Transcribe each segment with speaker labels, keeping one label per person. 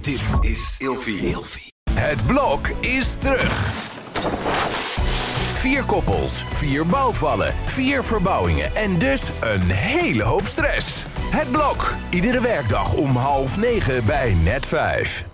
Speaker 1: Dit is Ilfie. Het blok is terug. Vier koppels, vier bouwvallen, vier verbouwingen en dus een hele hoop stress. Het blok, iedere werkdag om half negen bij net vijf.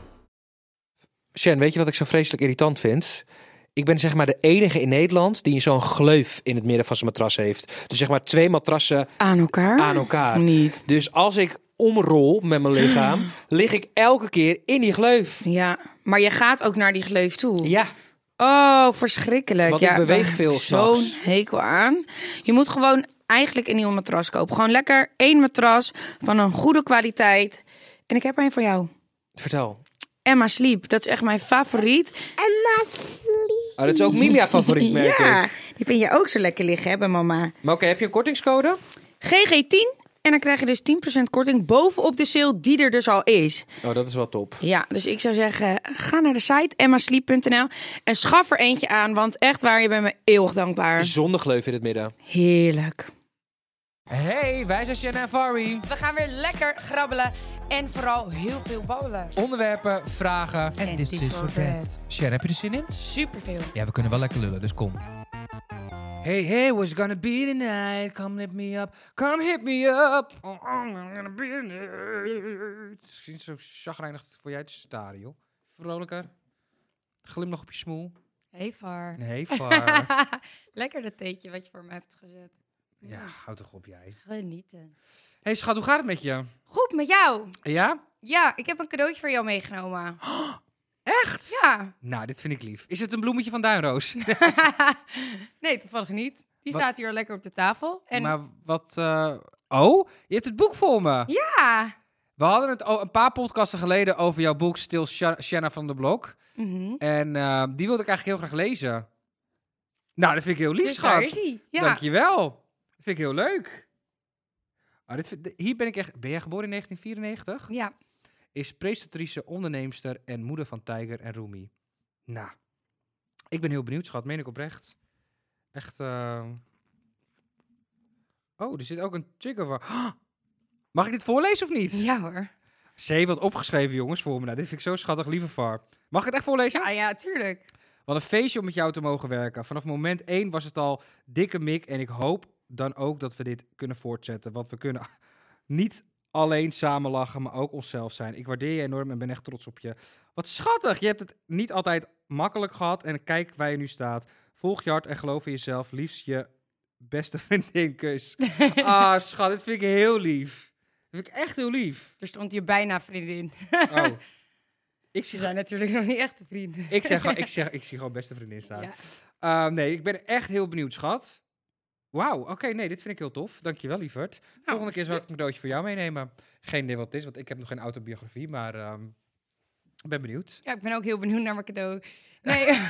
Speaker 2: Shen, weet je wat ik zo vreselijk irritant vind? Ik ben zeg maar de enige in Nederland die zo'n gleuf in het midden van zijn matras heeft. Dus zeg maar twee matrassen
Speaker 3: Aan elkaar?
Speaker 2: aan elkaar.
Speaker 3: Ah, Niet. Ah.
Speaker 2: Dus als ik omrol met mijn lichaam, lig ik elke keer in die gleuf.
Speaker 3: Ja, maar je gaat ook naar die gleuf toe.
Speaker 2: Ja,
Speaker 3: Oh, verschrikkelijk.
Speaker 2: Want
Speaker 3: ja,
Speaker 2: ik beweeg
Speaker 3: daar heb
Speaker 2: veel
Speaker 3: ik Zo'n
Speaker 2: s'nachts.
Speaker 3: hekel aan. Je moet gewoon eigenlijk een nieuw matras kopen. Gewoon lekker één matras van een goede kwaliteit. En ik heb er een voor jou.
Speaker 2: vertel.
Speaker 3: Emma Sleep, dat is echt mijn favoriet.
Speaker 4: Emma Sleep.
Speaker 2: Oh, dat is ook Milia favoriet, merk
Speaker 3: ja,
Speaker 2: ik.
Speaker 3: die vind je ook zo lekker liggen hebben, mama.
Speaker 2: Maar oké, heb je een kortingscode?
Speaker 3: GG10. En dan krijg je dus 10% korting bovenop de sale die er dus al is.
Speaker 2: Oh, dat is wel top.
Speaker 3: Ja, dus ik zou zeggen, ga naar de site emmasleep.nl en schaf er eentje aan. Want echt waar, je bent me eeuwig dankbaar.
Speaker 2: Zonder gleuf in het midden.
Speaker 3: Heerlijk.
Speaker 2: Hey, wij zijn Shen en Fari.
Speaker 5: We gaan weer lekker grabbelen en vooral heel veel babbelen.
Speaker 6: Onderwerpen, vragen.
Speaker 5: En dit is voor dat.
Speaker 6: Sher, heb je er zin in?
Speaker 5: Superveel.
Speaker 6: Ja, we kunnen wel lekker lullen, dus kom. Hey, hey, what's gonna be tonight? Come hit me up. Come hit me up. Oh, oh, I'm gonna be tonight. Misschien zo chagrijnig voor jij te staren, joh. Vrolijker. Glimlach op je smoel.
Speaker 5: Hey Far.
Speaker 6: Nee, vaar.
Speaker 5: lekker dat theetje wat je voor me hebt gezet.
Speaker 6: ja, houd toch op jij.
Speaker 5: Genieten.
Speaker 6: hey, schat, hoe gaat het met je?
Speaker 5: Goed met jou.
Speaker 6: Ja?
Speaker 5: Ja, ik heb een cadeautje voor jou meegenomen.
Speaker 6: Echt?
Speaker 5: Ja.
Speaker 6: Nou, dit vind ik lief. Is het een bloemetje van Duinroos?
Speaker 5: nee, toevallig niet. Die
Speaker 6: Wat?
Speaker 5: staat hier lekker op de tafel. En
Speaker 6: Maar wat... eh, Oh, je hebt het boek voor me.
Speaker 5: ja.
Speaker 6: We hadden het al een paar podcasten geleden over jouw boek Stil Sha- Shanna van de Blok.
Speaker 5: Mhm.
Speaker 6: En eh, die wilde ik eigenlijk heel graag lezen. Nou, dat vind ik heel lief,
Speaker 5: Dus daar is
Speaker 6: schat.
Speaker 5: hij. Ja.
Speaker 6: Dankjewel. Dat vind ik heel leuk. Ah, dit vind- hier ben ik echt... Ben jij geboren in 1994?
Speaker 5: Ja.
Speaker 6: Is presentatrice, onderneemster en moeder van Tiger en Rumi. Nou, ik ben heel benieuwd, schat. Meen ik oprecht. Echt... eh, Oh, er zit ook een trigger van... Mag ik dit voorlezen of niet?
Speaker 5: Ja hoor.
Speaker 6: C wat opgeschreven, jongens, voor me. Nou, dit vind ik zo schattig, lieve Far. Mag ik het echt voorlezen?
Speaker 5: Ja, Ah, ja, tuurlijk.
Speaker 6: Wat een feestje om met jou te mogen werken. Vanaf moment 1 was het al dikke mik. En ik hoop dan ook dat we dit kunnen voortzetten. Want we kunnen niet alleen samen lachen, maar ook onszelf zijn. Ik waardeer je enorm en ben echt trots op je. Wat schattig! Je hebt het niet altijd makkelijk gehad. En kijk waar je nu staat. Volg je hart en geloof in jezelf. Liefst je beste vriendin, kus. ah, schat, dit vind ik heel lief. Dat vind ik echt heel lief.
Speaker 5: Er stond je bijna vriendin.
Speaker 6: Oh. Ik
Speaker 5: Ze
Speaker 6: zie
Speaker 5: zijn natuurlijk nog niet echte vrienden.
Speaker 6: ik zeg, gewoon- ik zeg, ik zie gewoon beste vriendin staan.
Speaker 5: Ja.
Speaker 6: Ehm, nee, ik ben echt heel benieuwd, schat. Wauw, oké, nee, dit vind ik heel tof. Dankjewel, lieverd.
Speaker 5: Nou,
Speaker 6: Volgende keer zal ik een cadeautje voor jou meenemen. Geen idee wat het is, want ik heb nog geen autobiografie, maar ehm, ik ben benieuwd.
Speaker 5: Ja, ik ben ook heel benieuwd naar mijn cadeau. Nee,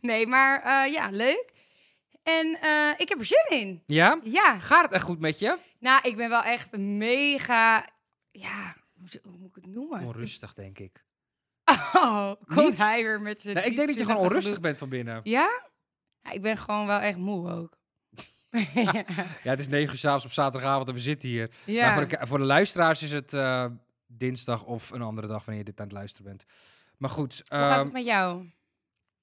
Speaker 5: nee maar eh, ja, leuk. En eh, ik heb er zin in.
Speaker 6: Ja?
Speaker 5: Ja,
Speaker 6: Gaat het echt goed met je?
Speaker 5: nou, ik ben wel echt mega. Ja, hoe, z- hoe moet Oh, ik het noemen?
Speaker 6: Onrustig, denk ik.
Speaker 5: Oh, komt
Speaker 6: Niet?
Speaker 5: hij weer met zijn.
Speaker 6: Nee, ik denk dat je gewoon
Speaker 5: diepzinnige
Speaker 6: onrustig bent van binnen.
Speaker 5: gedoe. Ja? ja? Ik ben gewoon wel echt moe ook. ja.
Speaker 6: Ja, het is negen uur s'avonds op zaterdagavond en we zitten hier. Nou, voor, de, ki- voor de luisteraars is het eh, dinsdag of een andere dag wanneer je dit aan het luisteren bent. Maar goed,
Speaker 5: Hoe gaat
Speaker 6: ehm,
Speaker 5: het met jou?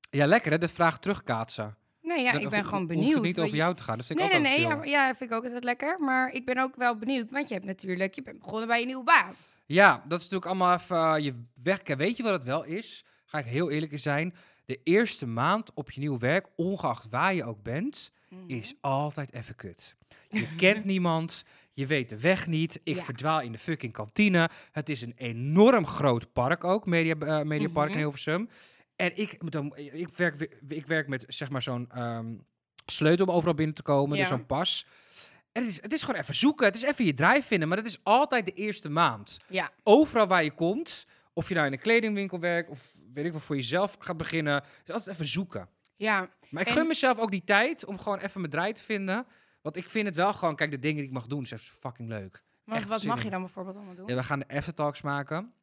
Speaker 6: ja, lekker hè, de vraag terugkaatsen.
Speaker 5: Nou ja,
Speaker 6: Dan
Speaker 5: ik ben
Speaker 6: ho-
Speaker 5: gewoon
Speaker 6: ho-
Speaker 5: benieuwd.
Speaker 6: Hoeft het niet
Speaker 5: maar
Speaker 6: over
Speaker 5: je-
Speaker 6: jou te gaan. Dat vind ik
Speaker 5: Nee, nee,
Speaker 6: ook wel
Speaker 5: nee. Ja,
Speaker 6: chill.
Speaker 5: maar- ja, vind ik ook altijd lekker. Maar ik ben ook wel benieuwd. Want je hebt natuurlijk, je bent begonnen bij een nieuwe baan.
Speaker 6: Ja, dat is natuurlijk allemaal even eh, je werk. En weet je wat het wel is? Ga ik heel eerlijk in zijn. De eerste maand op je nieuw werk, ongeacht waar je ook bent,
Speaker 5: Mhm.
Speaker 6: is altijd even kut. Je kent niemand, je weet de weg niet. Ik
Speaker 5: Ja.
Speaker 6: verdwaal in de fucking kantine. Het is een enorm groot park ook, Media, eh, Mediapark
Speaker 5: Mhm.
Speaker 6: in Hilversum. En ik, dan, ik, werk, wi- ik werk met zeg maar zo'n ehm, sleutel om overal binnen te komen, dus
Speaker 5: Ja.
Speaker 6: zo'n pas. En het is, het is gewoon even zoeken, het is even je draai vinden, maar dat is altijd de eerste maand
Speaker 5: Ja.
Speaker 6: overal waar je komt, of je nou in een kledingwinkel werkt of weet ik wat voor jezelf gaat beginnen, is altijd even zoeken.
Speaker 5: Ja,
Speaker 6: Maar ik
Speaker 5: En-
Speaker 6: gun mezelf ook die tijd om gewoon even mijn draai te vinden. Want ik vind het wel gewoon, kijk, de dingen die ik mag doen, zijn fucking leuk.
Speaker 5: want
Speaker 6: Echt
Speaker 5: wat
Speaker 6: zin
Speaker 5: mag
Speaker 6: in.
Speaker 5: je dan bijvoorbeeld allemaal doen?
Speaker 6: Ja, we gaan de aftertalks maken.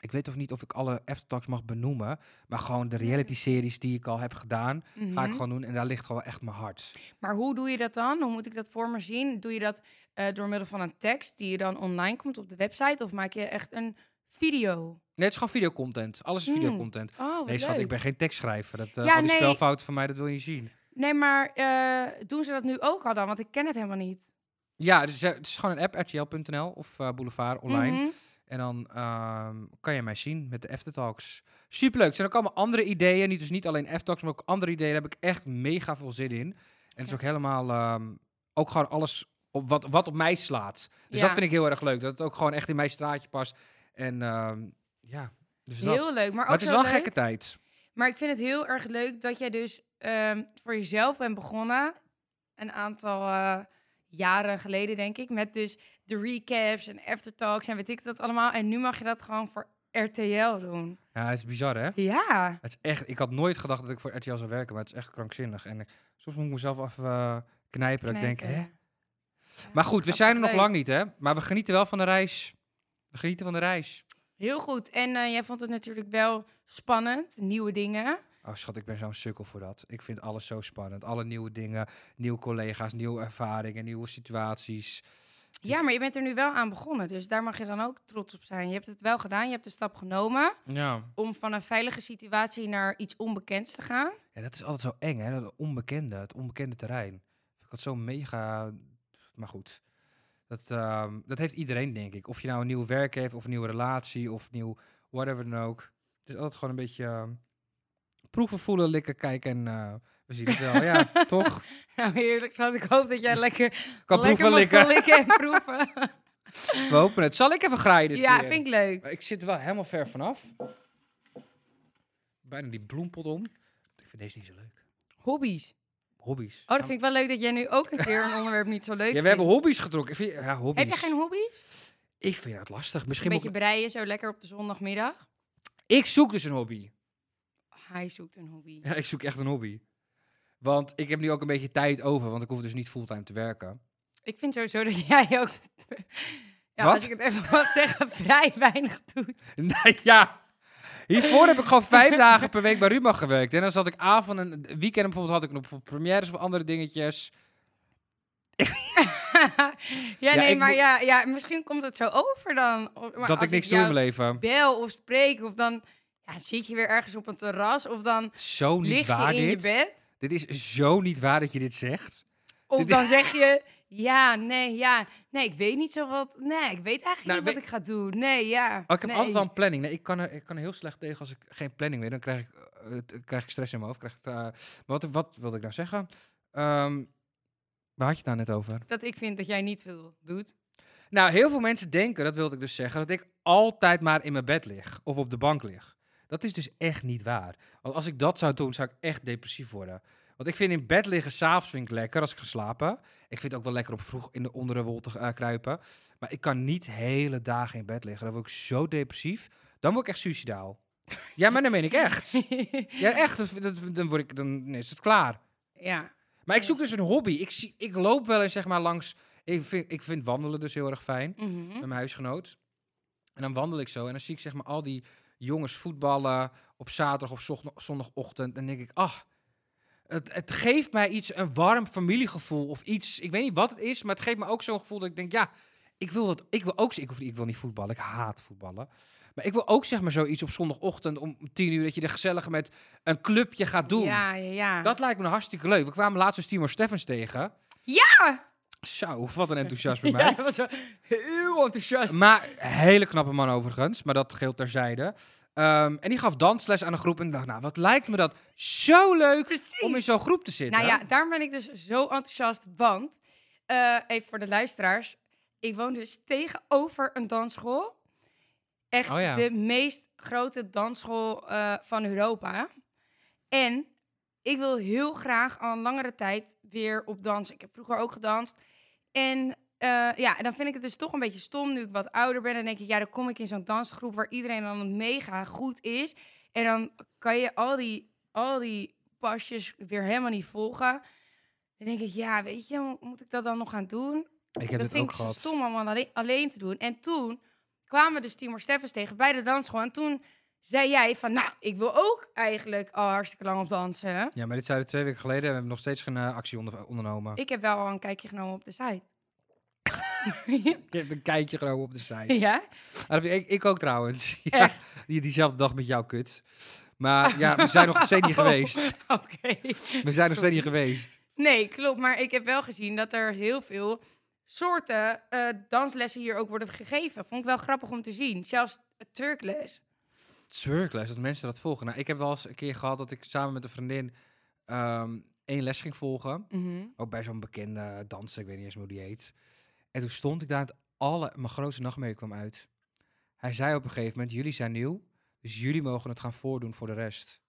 Speaker 6: Ik weet of niet of ik alle aftertalks mag benoemen, maar gewoon de reality-series die ik al heb gedaan,
Speaker 5: Mhm.
Speaker 6: ga ik gewoon doen. En daar ligt gewoon echt mijn hart.
Speaker 5: Maar hoe doe je dat dan? Hoe moet ik dat voor me zien? Doe je dat eh, door middel van een tekst die je dan online komt op de website? Of maak je echt een video.
Speaker 6: Nee, het is gewoon videocontent. Alles is
Speaker 5: Mm.
Speaker 6: videocontent.
Speaker 5: Oh, wat
Speaker 6: Nee, schat, ik
Speaker 5: leuk.
Speaker 6: ben geen tekstschrijver. Dat, eh,
Speaker 5: Ja,
Speaker 6: al die
Speaker 5: nee.
Speaker 6: spelfouten van mij, dat wil je niet zien.
Speaker 5: Nee, maar eh, doen ze dat nu ook al dan? Want ik ken het helemaal niet.
Speaker 6: Ja, dus, eh, het is gewoon een app, rtl.nl of eh, Boulevard online.
Speaker 5: Mhm.
Speaker 6: En dan ehm, kan je mij zien met de Eftertalks. Superleuk. Er zijn ook allemaal andere ideeën. Niet, dus niet alleen Eftertalks, maar ook andere ideeën. Daar heb ik echt mega veel zin in. En het is
Speaker 5: Ja.
Speaker 6: ook helemaal... ehm, ook gewoon alles op wat, wat op mij slaat. Dus dat
Speaker 5: Ja.
Speaker 6: vind ik heel erg leuk. Dat het ook gewoon echt in mijn straatje past. En ehm, ja, dus dat.
Speaker 5: Heel leuk. Maar, ook
Speaker 6: Maar het is
Speaker 5: zo
Speaker 6: wel een
Speaker 5: leuk.
Speaker 6: gekke tijd.
Speaker 5: Maar ik vind het heel erg leuk dat jij dus ehm, voor jezelf bent begonnen. Een aantal eh, jaren geleden, denk ik. Met dus de recaps en aftertalks en weet ik dat allemaal. En nu mag je dat gewoon voor RTL doen.
Speaker 6: Ja, het is bizar, hè?
Speaker 5: Ja.
Speaker 6: Het is echt, ik had nooit gedacht dat ik voor RTL zou werken, maar het is echt krankzinnig. En ik- soms moet ik mezelf af eh, knijpen. Dat ik denk, hè? Maar goed, we zijn er nog
Speaker 5: leuk.
Speaker 6: lang niet, hè? Maar we genieten wel van de reis. We genieten van de reis.
Speaker 5: Heel goed. En eh, jij vond het natuurlijk wel spannend. Nieuwe dingen.
Speaker 6: Oh, schat, ik ben zo'n sukkel voor dat. Ik vind alles zo spannend. Alle nieuwe dingen, nieuwe collega's, nieuwe ervaringen, nieuwe situaties.
Speaker 5: Ja, maar je bent er nu wel aan begonnen. Dus daar mag je dan ook trots op zijn. Je hebt het wel gedaan. Je hebt de stap genomen
Speaker 6: Ja.
Speaker 5: om van een veilige situatie naar iets onbekends te gaan.
Speaker 6: ja dat is altijd zo eng, hè? Dat onbekende, het onbekende terrein. Vind Ik had zo mega... Maar goed, dat, ehm, dat heeft iedereen, denk ik. Of je nou een nieuw werk heeft, of een nieuwe relatie, of nieuw whatever dan ook. Het is altijd gewoon een beetje ehm, proeven, voelen, likken, kijken en... eh, we zien het wel, ja, toch?
Speaker 5: Nou, heerlijk, schat. Ik hoop dat jij lekker,
Speaker 6: Kan
Speaker 5: lekker
Speaker 6: proeven,
Speaker 5: mag
Speaker 6: likken.
Speaker 5: gaan likken en proeven.
Speaker 6: We hopen het. Zal ik even graaien dit
Speaker 5: ja,
Speaker 6: keer?
Speaker 5: vind ik leuk.
Speaker 6: Maar Ik zit er wel helemaal ver vanaf. Bijna die bloempot om. Ik vind deze niet zo leuk.
Speaker 5: Hobby's.
Speaker 6: Hobby's.
Speaker 5: Oh, dat vind ik wel leuk dat jij nu ook een keer een onderwerp niet zo leuk
Speaker 6: ja,
Speaker 5: vindt.
Speaker 6: we hebben hobby's getrokken. Ik vind, ja, hobby's.
Speaker 5: Heb jij geen hobby's?
Speaker 6: Ik vind dat lastig.
Speaker 5: Een
Speaker 6: Misschien
Speaker 5: beetje
Speaker 6: moet
Speaker 5: breien, zo lekker op de zondagmiddag.
Speaker 6: ik... ik zoek dus een hobby.
Speaker 5: Hij zoekt een hobby.
Speaker 6: Ja, ik zoek echt een hobby. Want ik heb nu ook een beetje tijd over, want ik hoef dus niet fulltime te werken.
Speaker 5: Ik vind sowieso dat jij ook... Ja,
Speaker 6: Wat?
Speaker 5: als ik het even mag zeggen, vrij weinig doet.
Speaker 6: nou ja, hiervoor heb ik gewoon vijf dagen per week bij Rumach gewerkt. En dan zat ik avonden, en weekenden bijvoorbeeld had ik nog voor premières of andere dingetjes.
Speaker 5: ja,
Speaker 6: Ja,
Speaker 5: nee,
Speaker 6: ik
Speaker 5: maar
Speaker 6: moet-
Speaker 5: ja, ja, misschien komt het zo over dan. O- Maar
Speaker 6: dat
Speaker 5: als
Speaker 6: ik niks doe
Speaker 5: jou
Speaker 6: in mijn leven.
Speaker 5: bel of spreek of dan ja, zit je weer ergens op een terras of dan
Speaker 6: Zo niet
Speaker 5: lig
Speaker 6: waar
Speaker 5: je in
Speaker 6: dit.
Speaker 5: je bed.
Speaker 6: Dit is zo niet waar dat je dit zegt.
Speaker 5: Of
Speaker 6: Dit-
Speaker 5: dan zeg je, ja, nee, ja, nee, ik weet niet zo wat. Nee, ik weet eigenlijk
Speaker 6: Nou,
Speaker 5: niet wat
Speaker 6: weet-
Speaker 5: ik ga doen. Nee, ja.
Speaker 6: Oh, ik heb
Speaker 5: nee.
Speaker 6: altijd wel een planning. Nee, ik, kan er, ik kan er heel slecht tegen als ik geen planning meer. Dan krijg ik, eh, het- krijg ik stress in mijn hoofd. Krijg ik, eh, wat, wat wilde ik nou zeggen? Ehm, waar had je het nou net over?
Speaker 5: Dat ik vind dat jij niet veel doet.
Speaker 6: Nou, heel veel mensen denken, dat wilde ik dus zeggen, dat ik altijd maar in mijn bed lig of op de bank lig. Dat is dus echt niet waar. Want als ik dat zou doen, zou ik echt depressief worden. Want ik vind in bed liggen, s'avonds vind ik lekker als ik ga slapen. Ik vind het ook wel lekker om vroeg in de ondere wol te eh, kruipen. Maar ik kan niet hele dagen in bed liggen. Dan word ik zo depressief. Dan word ik echt suicidaal. Ja, maar dan ben ik echt. Ja, echt. Dat- dat- Dan, word ik, dan is het klaar.
Speaker 5: ja.
Speaker 6: Maar ik zoek dus een hobby. Ik, zie, ik loop wel eens zeg maar langs... Ik vind, ik vind wandelen dus heel erg fijn
Speaker 5: Mhm.
Speaker 6: met mijn huisgenoot. En dan wandel ik zo en dan zie ik zeg maar al die jongens voetballen op zaterdag of zocht- zondagochtend. En dan denk ik, ah, het, het geeft mij iets, een warm familiegevoel of iets. Ik weet niet wat het is, maar het geeft me ook zo'n gevoel dat ik denk, ja, ik wil dat, ik wil ook, ik, hoef, ik wil niet voetballen, ik haat voetballen. Maar ik wil ook zeg maar zoiets op zondagochtend om tien uur, dat je er gezellig met een clubje gaat doen.
Speaker 5: Ja, ja, ja.
Speaker 6: Dat lijkt me nou hartstikke leuk. We kwamen laatst dus Timo Steffens tegen.
Speaker 5: Ja!
Speaker 6: Zo, wat een enthousiasme,
Speaker 5: Ja,
Speaker 6: meid.
Speaker 5: dat was wel heel enthousiast.
Speaker 6: Maar hele knappe man overigens, maar dat geldt terzijde. Ehm, en die gaf dansles aan een groep en ik dacht, nou, wat lijkt me dat zo leuk
Speaker 5: Precies.
Speaker 6: om in zo'n groep te zitten.
Speaker 5: Nou ja, daarom ben ik dus zo enthousiast, want eh, even voor de luisteraars. Ik woon dus tegenover een dansschool. Echt
Speaker 6: Oh ja.
Speaker 5: de meest grote dansschool eh, van Europa. En ik wil heel graag al een langere tijd weer op dansen. Ik heb vroeger ook gedanst. En eh, ja, en dan vind ik het dus toch een beetje stom nu ik wat ouder ben. Dan denk ik, ja, dan kom ik in zo'n dansgroep waar iedereen dan mega goed is. En dan kan je al die, al die pasjes weer helemaal niet volgen. Dan denk ik, ja, weet je, moet ik dat dan nog gaan doen?
Speaker 6: ik heb
Speaker 5: dat
Speaker 6: dit
Speaker 5: vind
Speaker 6: ook
Speaker 5: ik zo
Speaker 6: gehad.
Speaker 5: stom om alleen, alleen te doen. En toen kwamen we dus Timor Steffens tegen bij de dansschool. En toen zei jij van, nou, ik wil ook eigenlijk al hartstikke lang op dansen.
Speaker 6: Ja, maar dit zeiden we twee weken geleden en we hebben nog steeds geen eh, actie onder- ondernomen.
Speaker 5: Ik heb wel al een kijkje genomen op de site.
Speaker 6: Je hebt een keitje genomen op de site.
Speaker 5: ja?
Speaker 6: Ah, dat- ik, ik ook trouwens. Ja,
Speaker 5: Echt?
Speaker 6: Die, diezelfde dag met jou kut. Maar ja, we zijn nog steeds niet
Speaker 5: Oh.
Speaker 6: geweest.
Speaker 5: Oké.
Speaker 6: We zijn nog steeds niet geweest.
Speaker 5: Nee, klopt. Maar ik heb wel gezien dat er heel veel soorten eh, danslessen hier ook worden gegeven. Vond ik wel grappig om te zien. Zelfs Turkles.
Speaker 6: Twerkles, dat mensen dat volgen. Nou, ik heb wel eens een keer gehad dat ik samen met een vriendin ehm één les ging volgen. Ook bij zo'n bekende danser, ik weet niet eens meer hoe die heet. En toen stond ik daar, het alle, mijn grootste nachtmerrie kwam uit. Hij zei op een gegeven moment, jullie zijn nieuw, dus jullie mogen het gaan voordoen voor de rest.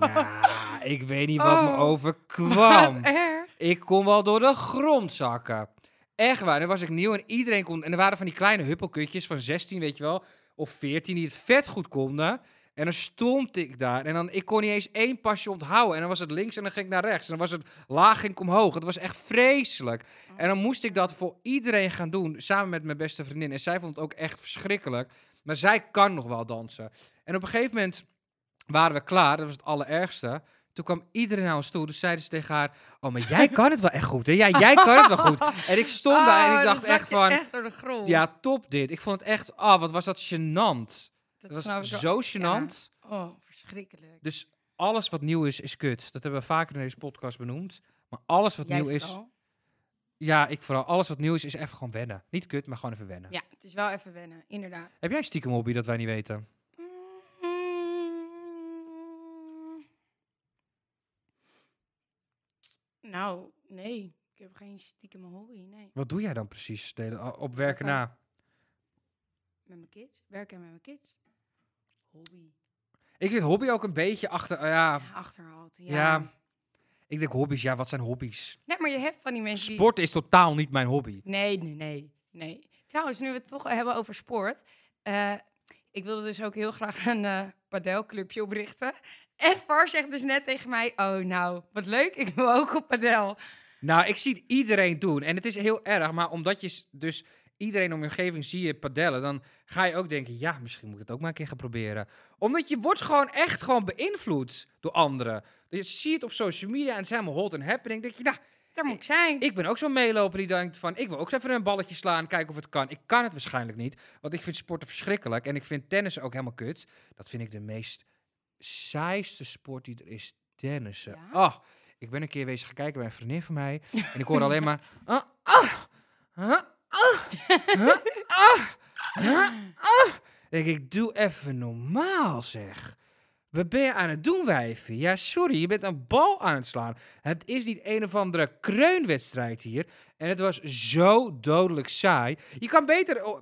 Speaker 6: ja, ik weet niet wat me
Speaker 5: Oh,
Speaker 6: overkwam.
Speaker 5: Wat erg.
Speaker 6: Ik kon wel door de grond zakken. Echt waar, nu was ik nieuw en iedereen kon... En er waren van die kleine huppelkutjes van 16, weet je wel, of 14, die het vet goed konden. En dan stond ik daar en dan, ik kon niet eens één pasje onthouden. En dan was het links en dan ging ik naar rechts. En dan was het laag ging ik omhoog. Het was echt vreselijk.
Speaker 5: Oh.
Speaker 6: En dan moest ik dat voor iedereen gaan doen, samen met mijn beste vriendin. En zij vond het ook echt verschrikkelijk. Maar zij kan nog wel dansen. En op een gegeven moment waren we klaar, dat was het allerergste. Toen kwam iedereen naar ons toe, dus zeiden ze tegen haar... Oh, maar jij kan het wel echt goed, hè? Ja, jij kan het wel goed. En ik stond daar en
Speaker 5: Oh,
Speaker 6: ik
Speaker 5: dan
Speaker 6: dacht
Speaker 5: zak
Speaker 6: echt
Speaker 5: je
Speaker 6: van...
Speaker 5: Echt door de grond.
Speaker 6: Ja, top dit. Ik vond het echt... Ah, wat was dat gênant.
Speaker 5: dat,
Speaker 6: Dat
Speaker 5: snap
Speaker 6: was
Speaker 5: ik wel.
Speaker 6: zo gênant.
Speaker 5: Oh, verschrikkelijk.
Speaker 6: Dus alles wat nieuw is, is kut. Dat hebben we vaker in deze podcast benoemd. Maar alles wat
Speaker 5: Jij
Speaker 6: nieuw is...
Speaker 5: vooral?
Speaker 6: Ja, ik vooral. Alles wat nieuw is, is even gewoon wennen. Niet kut, maar gewoon even wennen.
Speaker 5: Ja, het is wel even wennen, inderdaad.
Speaker 6: Heb jij een stiekem hobby dat wij niet weten?
Speaker 5: Mm. Nou, nee. Ik heb geen stiekem hobby, nee.
Speaker 6: Wat doe jij dan precies de hele- op werken
Speaker 5: Werken.
Speaker 6: na?
Speaker 5: Met mijn kids. Werken met mijn kids. Hobby.
Speaker 6: Ik vind hobby ook een beetje achter... ah, ja,
Speaker 5: Ja, achterhaald, ja.
Speaker 6: ja. Ik denk hobby's, ja, wat zijn hobby's?
Speaker 5: Nee, maar je hebt van die mensen die...
Speaker 6: Sport is totaal niet mijn hobby.
Speaker 5: Nee, nee, nee, nee. Trouwens, nu we het toch hebben over sport. eh, ik wilde dus ook heel graag een eh padelclubje oprichten. En Var zegt dus net tegen mij... Oh, nou, wat leuk. Ik wil ook op padel.
Speaker 6: Nou, ik zie het iedereen doen. En het is heel erg, maar omdat je s- dus iedereen om je omgeving zie je padellen, dan ga je ook denken, ja, misschien moet ik het ook maar een keer gaan proberen. Omdat je wordt gewoon echt gewoon beïnvloed door anderen. Dus Je ziet het op social media en het is helemaal hot en happening. denk je, nou,
Speaker 5: Daar moet ik zijn.
Speaker 6: ik ben ook zo'n meeloper die denkt van, ik wil ook even een balletje slaan, kijken of het kan. Ik kan het waarschijnlijk niet, want ik vind sporten verschrikkelijk. En ik vind tennis ook helemaal kut. Dat vind ik de meest saaiste sport die er is, tennissen.
Speaker 5: Ja?
Speaker 6: Ah, ik ben een keer wezen gaan kijken bij een vriendin van mij. En ik hoorde alleen maar... ah, ah, ah, ah, ah, ah, ah, ah. Denk ik, doe even normaal zeg. Wat ben je aan het doen, wijfie? Ja, sorry, je bent een bal aan het slaan. Het is niet een of andere kreunwedstrijd hier. En het was zo dodelijk saai. Je kan beter oh,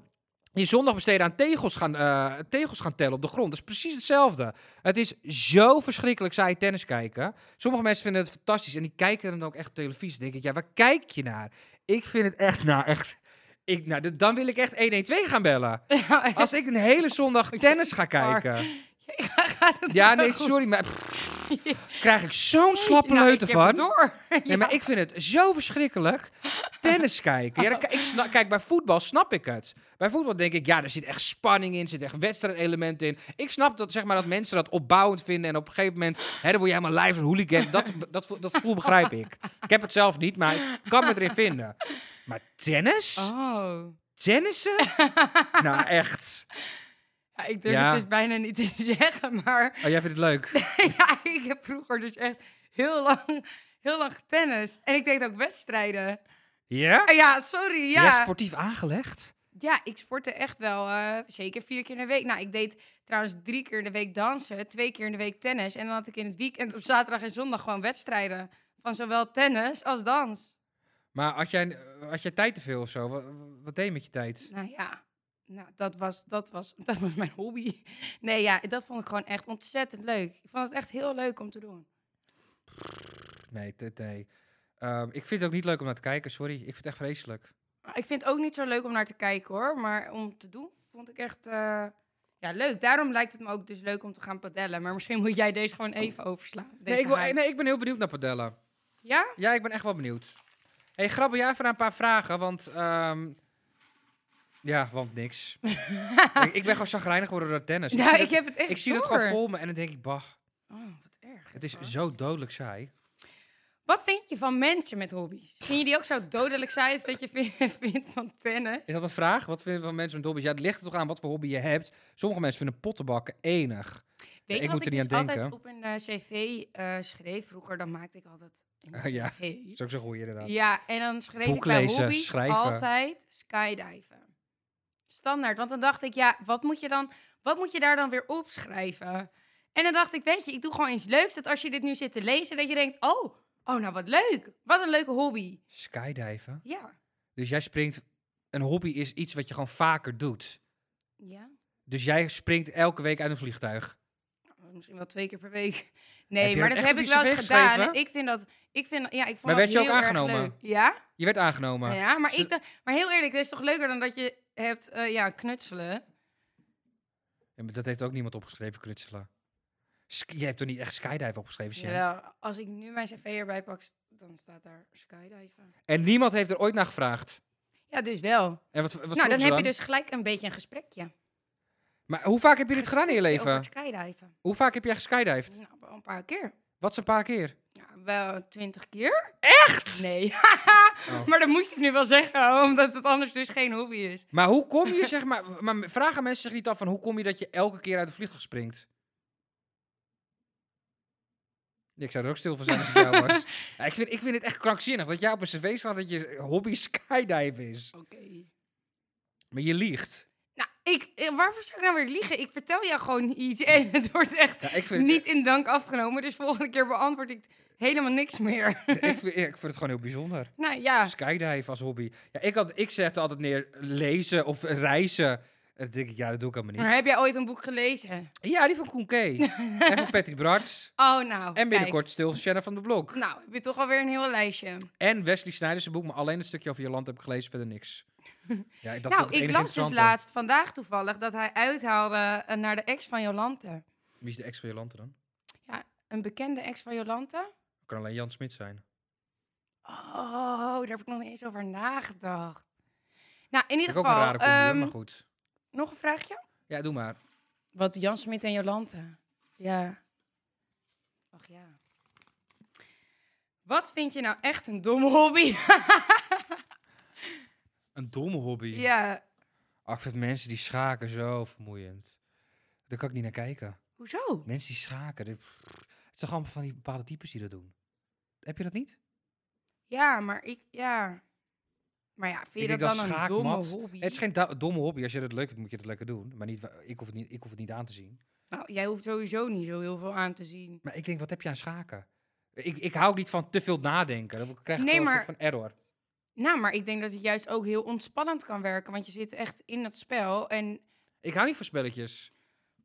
Speaker 6: je zondag besteden aan tegels gaan, eh, tegels gaan tellen op de grond. Dat is precies hetzelfde. Het is zo verschrikkelijk saai tennis kijken. Sommige mensen vinden het fantastisch en die kijken dan ook echt op televisie. Dan denk ik, ja, waar kijk je naar? Ik vind het echt, nou echt... Ik, nou, d- dan wil ik echt 112 gaan bellen. Als ik een hele zondag tennis ga kijken.
Speaker 5: Gaat het
Speaker 6: Ja,
Speaker 5: wel
Speaker 6: nee,
Speaker 5: goed?
Speaker 6: sorry, maar krijg ik zo'n slappe
Speaker 5: Nou,
Speaker 6: leuter
Speaker 5: ik heb
Speaker 6: van.
Speaker 5: het door.
Speaker 6: Nee, maar ik vind het zo verschrikkelijk. Tennis kijken. Ja, dan ki- ik sna- kijk, bij voetbal snap ik het. Bij voetbal denk ik, ja, er zit echt spanning in, er zit echt wedstrijdelement in. Ik snap dat, zeg maar, dat mensen dat opbouwend vinden en op een gegeven moment, hè, dan word je helemaal lijf een hooligan. Dat, dat, vo- dat gevoel begrijp ik. Ik heb het zelf niet, maar ik kan me erin vinden. Maar tennis?
Speaker 5: Oh.
Speaker 6: Tennissen? nou, echt.
Speaker 5: Ja, ik durf
Speaker 6: Ja.
Speaker 5: het dus bijna niet te zeggen, maar
Speaker 6: Oh, jij vindt het leuk?
Speaker 5: ja, ik heb vroeger dus echt heel lang, heel lang getennist. En ik deed ook wedstrijden.
Speaker 6: Ja?
Speaker 5: Ah, ja, sorry,
Speaker 6: Ja,
Speaker 5: ja.
Speaker 6: sportief aangelegd?
Speaker 5: Ja, ik sportte echt wel eh, zeker vier keer in de week. Nou, ik deed trouwens drie keer in de week dansen, twee keer in de week tennis. En dan had ik in het weekend op zaterdag en zondag gewoon wedstrijden. Van zowel tennis als dans.
Speaker 6: Maar had jij, eh, had jij tijd te veel of zo? Wat, wat deed je met je tijd?
Speaker 5: Nou ja, nou, dat, was, dat, was, dat was mijn hobby. Nee, ja, dat vond ik gewoon echt ontzettend leuk. Ik vond het echt heel leuk om te doen.
Speaker 6: Nee, t- nee. Ehm, ik vind het ook niet leuk om naar te kijken, sorry. Ik vind het echt vreselijk.
Speaker 5: Maar Ik vind het ook niet zo leuk om naar te kijken hoor. Maar om te doen vond ik echt eh, ja, leuk. Daarom lijkt het me ook dus leuk om te gaan padellen. Maar misschien moet jij deze gewoon even overslaan.
Speaker 6: Nee
Speaker 5: Deze
Speaker 6: ik, wil,
Speaker 5: hype.
Speaker 6: nee, ik ben heel benieuwd naar padellen.
Speaker 5: Ja?
Speaker 6: Ja, ik ben echt wel benieuwd. hey, grabbel jij even naar een paar vragen, want... ehm, ja, want niks. ik, ik ben gewoon chagrijnig geworden door tennis.
Speaker 5: Nou,
Speaker 6: zie
Speaker 5: ik
Speaker 6: dat,
Speaker 5: heb het echt
Speaker 6: ik zie dat
Speaker 5: door.
Speaker 6: gewoon voor me en dan denk ik, bah,
Speaker 5: Oh, wat erg.
Speaker 6: het is
Speaker 5: hoor.
Speaker 6: zo dodelijk saai.
Speaker 5: Wat vind je van mensen met hobby's? Vind je die ook zo dodelijk saai als dat je vindt, vindt van tennis?
Speaker 6: Is dat een vraag? Wat vinden we van mensen met hobby's? Ja, het ligt er toch aan wat voor hobby je hebt. Sommige mensen vinden pottenbakken enig.
Speaker 5: Weet
Speaker 6: ik
Speaker 5: je wat
Speaker 6: moet er
Speaker 5: ik
Speaker 6: niet
Speaker 5: dus
Speaker 6: aan
Speaker 5: altijd
Speaker 6: denken.
Speaker 5: op een eh, cv eh, schreef vroeger? Dan maakte ik altijd een
Speaker 6: Ah, ja.
Speaker 5: cv.
Speaker 6: Dat is ook zo goed, inderdaad.
Speaker 5: Ja, en dan schreef
Speaker 6: Boek
Speaker 5: ik bij
Speaker 6: lezen,
Speaker 5: hobby's
Speaker 6: schrijven.
Speaker 5: altijd skydiven. Standaard. Want dan dacht ik, ja, wat moet, je dan, wat moet je daar dan weer opschrijven? En dan dacht ik, weet je, ik doe gewoon iets leuks. Dat als je dit nu zit te lezen, dat je denkt, oh, oh nou wat leuk. Wat een leuke hobby.
Speaker 6: Skydiven.
Speaker 5: Ja.
Speaker 6: Dus jij springt... Een hobby is iets wat je gewoon vaker doet.
Speaker 5: Ja.
Speaker 6: Dus jij springt elke week uit een vliegtuig.
Speaker 5: Oh, Misschien wel twee keer per week.
Speaker 6: Heb
Speaker 5: Nee,
Speaker 6: je
Speaker 5: maar
Speaker 6: dat
Speaker 5: dat
Speaker 6: echt
Speaker 5: heb
Speaker 6: op
Speaker 5: ik
Speaker 6: je
Speaker 5: wel
Speaker 6: cv
Speaker 5: eens gedaan.
Speaker 6: geschreven?
Speaker 5: Ik vind dat, ik vind, ja, ik vond
Speaker 6: Maar
Speaker 5: dat
Speaker 6: werd je ook
Speaker 5: heel erg
Speaker 6: aangenomen?
Speaker 5: leuk. Ja?
Speaker 6: Je werd aangenomen.
Speaker 5: ja, maar,
Speaker 6: Ze-
Speaker 5: ik dacht, maar heel eerlijk, dat is toch leuker dan dat je hebt eh, ja, knutselen?
Speaker 6: Ja, maar dat heeft ook niemand opgeschreven, knutselen. Sk- Jij hebt toch niet echt skydive opgeschreven, Sjen?
Speaker 5: Jawel, als ik nu mijn cv erbij pak, st- dan staat daar skydiven.
Speaker 6: En niemand heeft er ooit naar gevraagd.
Speaker 5: Ja, dus wel.
Speaker 6: En wat, wat vroegen
Speaker 5: nou, dan
Speaker 6: ze
Speaker 5: heb je dus gelijk een beetje een gesprekje.
Speaker 6: Maar hoe vaak heb je dit gedaan in je
Speaker 5: Gesprekje
Speaker 6: leven?
Speaker 5: Over skydiven.
Speaker 6: Hoe vaak heb jij geskydived?
Speaker 5: Nou, wel een paar keer.
Speaker 6: Wat is een paar keer?
Speaker 5: Ja, wel twintig keer. Echt? Nee.
Speaker 6: Oh.
Speaker 5: maar dat moest ik nu wel zeggen, omdat het anders dus geen hobby is.
Speaker 6: Maar hoe kom je, zeg maar... Maar vragen mensen zich niet af van... Hoe kom je dat je elke keer uit de vliegtuig springt? Ik zou er ook stil van zijn als ik jou was. Ja, ik, vind, ik vind het echt krankzinnig dat jij op een cv staat dat je hobby skydive is.
Speaker 5: Oké.
Speaker 6: Maar je liegt.
Speaker 5: Nou, ik, eh, waarvoor zou ik nou weer liegen? Ik vertel jou gewoon iets en het wordt echt
Speaker 6: Ja, ik vind-
Speaker 5: niet in dank afgenomen. Dus volgende keer beantwoord ik helemaal niks meer.
Speaker 6: ik, vind, ik vind het gewoon heel bijzonder.
Speaker 5: nou ja,
Speaker 6: Skydive als hobby. Ja, ik, had, ik zette altijd neer lezen of reizen. En dan denk ik, ja, dat doe ik allemaal
Speaker 5: maar
Speaker 6: niet.
Speaker 5: heb jij ooit een boek gelezen?
Speaker 6: Ja, die van Koen K. en van Patrick Bart.
Speaker 5: Oh, nou.
Speaker 6: En
Speaker 5: kijk.
Speaker 6: binnenkort stil Shannon van de Blok.
Speaker 5: Nou, heb je toch alweer een heel lijstje.
Speaker 6: En Wesley Snijders boek, maar alleen een stukje over Joland heb ik gelezen, verder niks. Ja, dat vond
Speaker 5: nou,
Speaker 6: enig
Speaker 5: ik las dus
Speaker 6: interessante.
Speaker 5: laatst vandaag toevallig dat hij uithaalde eh, naar de ex van Jolante.
Speaker 6: Wie is de ex van Jolante dan?
Speaker 5: Een bekende ex van Jolante?
Speaker 6: Kan alleen Jan Smit zijn.
Speaker 5: Oh, daar heb ik nog niet eens over nagedacht. Nou, in ieder
Speaker 6: Vind ik ook een
Speaker 5: geval,
Speaker 6: rare combi, hoor,
Speaker 5: ehm,
Speaker 6: maar goed.
Speaker 5: nog een vraagje?
Speaker 6: Ja, doe maar.
Speaker 5: Wat Jan Smit en Jolante. Ja. Ach ja. Wat vind je nou echt een domme hobby?
Speaker 6: Een domme hobby.
Speaker 5: ja.
Speaker 6: Ach, ik vind mensen die schaken zo vermoeiend. Daar kan ik niet naar kijken.
Speaker 5: Hoezo?
Speaker 6: Mensen die schaken. dit- het is toch allemaal van die bepaalde types die dat doen? Heb je dat niet?
Speaker 5: Ja, maar ik, ja. Maar ja, vind
Speaker 6: Ik
Speaker 5: je dat
Speaker 6: denk
Speaker 5: dan een domme
Speaker 6: schaakmat-
Speaker 5: hobby?
Speaker 6: Het is geen da- domme hobby. Als je dat leuk vindt, moet je dat lekker doen. Maar niet, wa- ik, hoef het niet, ik hoef het niet aan te zien.
Speaker 5: Nou, jij hoeft sowieso niet zo heel veel aan te zien.
Speaker 6: Maar ik denk, wat heb je aan schaken? Ik, ik hou niet van te veel nadenken. Dan krijg ik
Speaker 5: Nee,
Speaker 6: wel een soort
Speaker 5: maar-
Speaker 6: van error.
Speaker 5: Nou, maar ik denk dat het juist ook heel ontspannend kan werken. Want je zit echt in dat spel en...
Speaker 6: Ik hou niet van spelletjes.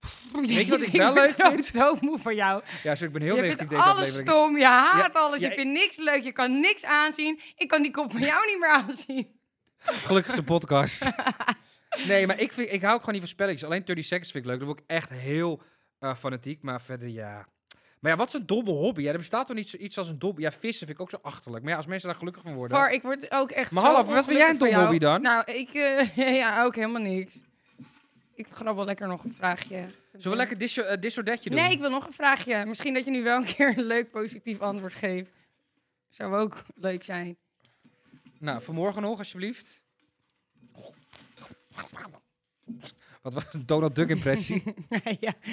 Speaker 5: Weet
Speaker 6: wat ik wel leuk
Speaker 5: Ik ben
Speaker 6: vind?
Speaker 5: zo doodmoe van jou.
Speaker 6: Ja, zo, ik ben heel
Speaker 5: je
Speaker 6: negatief
Speaker 5: vindt
Speaker 6: deze
Speaker 5: alles
Speaker 6: aflevering.
Speaker 5: stom, je haat alles,
Speaker 6: ja,
Speaker 5: je
Speaker 6: ik-
Speaker 5: vindt niks leuk, je kan niks aanzien. Ik kan die kop van jou niet meer aanzien.
Speaker 6: Gelukkig is een podcast. nee, maar ik, vind, ik hou ook gewoon niet van spelletjes. Alleen 30 Seconds vind ik leuk. Dan word ik echt heel eh, fanatiek. Maar verder, ja. Maar ja, wat is een domme hobby? Ja, er bestaat toch niet zoiets als een domme... Ja, vissen vind ik ook zo achterlijk. Maar ja, als mensen daar gelukkig van worden...
Speaker 5: Var, ik word ook echt
Speaker 6: Maar
Speaker 5: zo
Speaker 6: hallo, wat vind jij een
Speaker 5: ongelukkig van
Speaker 6: domhobby dan?
Speaker 5: jou. Nou, ik... eh, ja, ook helemaal niks. Ik grabbel lekker nog een vraagje.
Speaker 6: Zullen we lekker dis eh, disordetje doen?
Speaker 5: Nee, ik wil nog een vraagje. Misschien dat je nu wel een keer een leuk positief antwoord geeft. Zou ook leuk zijn.
Speaker 6: Nou, vanmorgen nog, alsjeblieft. Wat was een Donald Duck impressie?
Speaker 5: ja.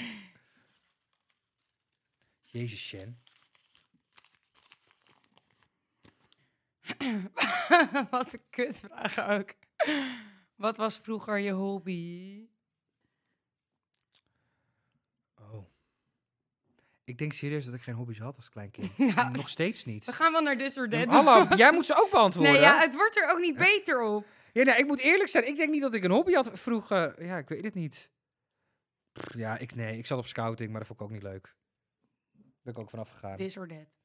Speaker 6: Jezus, Shen.
Speaker 5: Wat een kutvraag ook. Wat was vroeger je hobby?
Speaker 6: Oh. Ik denk serieus dat ik geen hobby's had als klein kind.
Speaker 5: Nou,
Speaker 6: Nog steeds niet.
Speaker 5: We gaan wel naar This or
Speaker 6: Ja,
Speaker 5: That.
Speaker 6: maar Hallo, jij moet ze ook beantwoorden.
Speaker 5: Nee, ja,
Speaker 6: ja,
Speaker 5: het wordt er ook niet beter op.
Speaker 6: nee, ik moet eerlijk zijn. Ik denk niet dat ik een hobby had vroeger. Ja, ik weet het niet. Pff, ja, ik nee. Ik zat op scouting, maar dat vond ik ook niet leuk. Daar ben ik ook vanaf gegaan.
Speaker 5: This or That.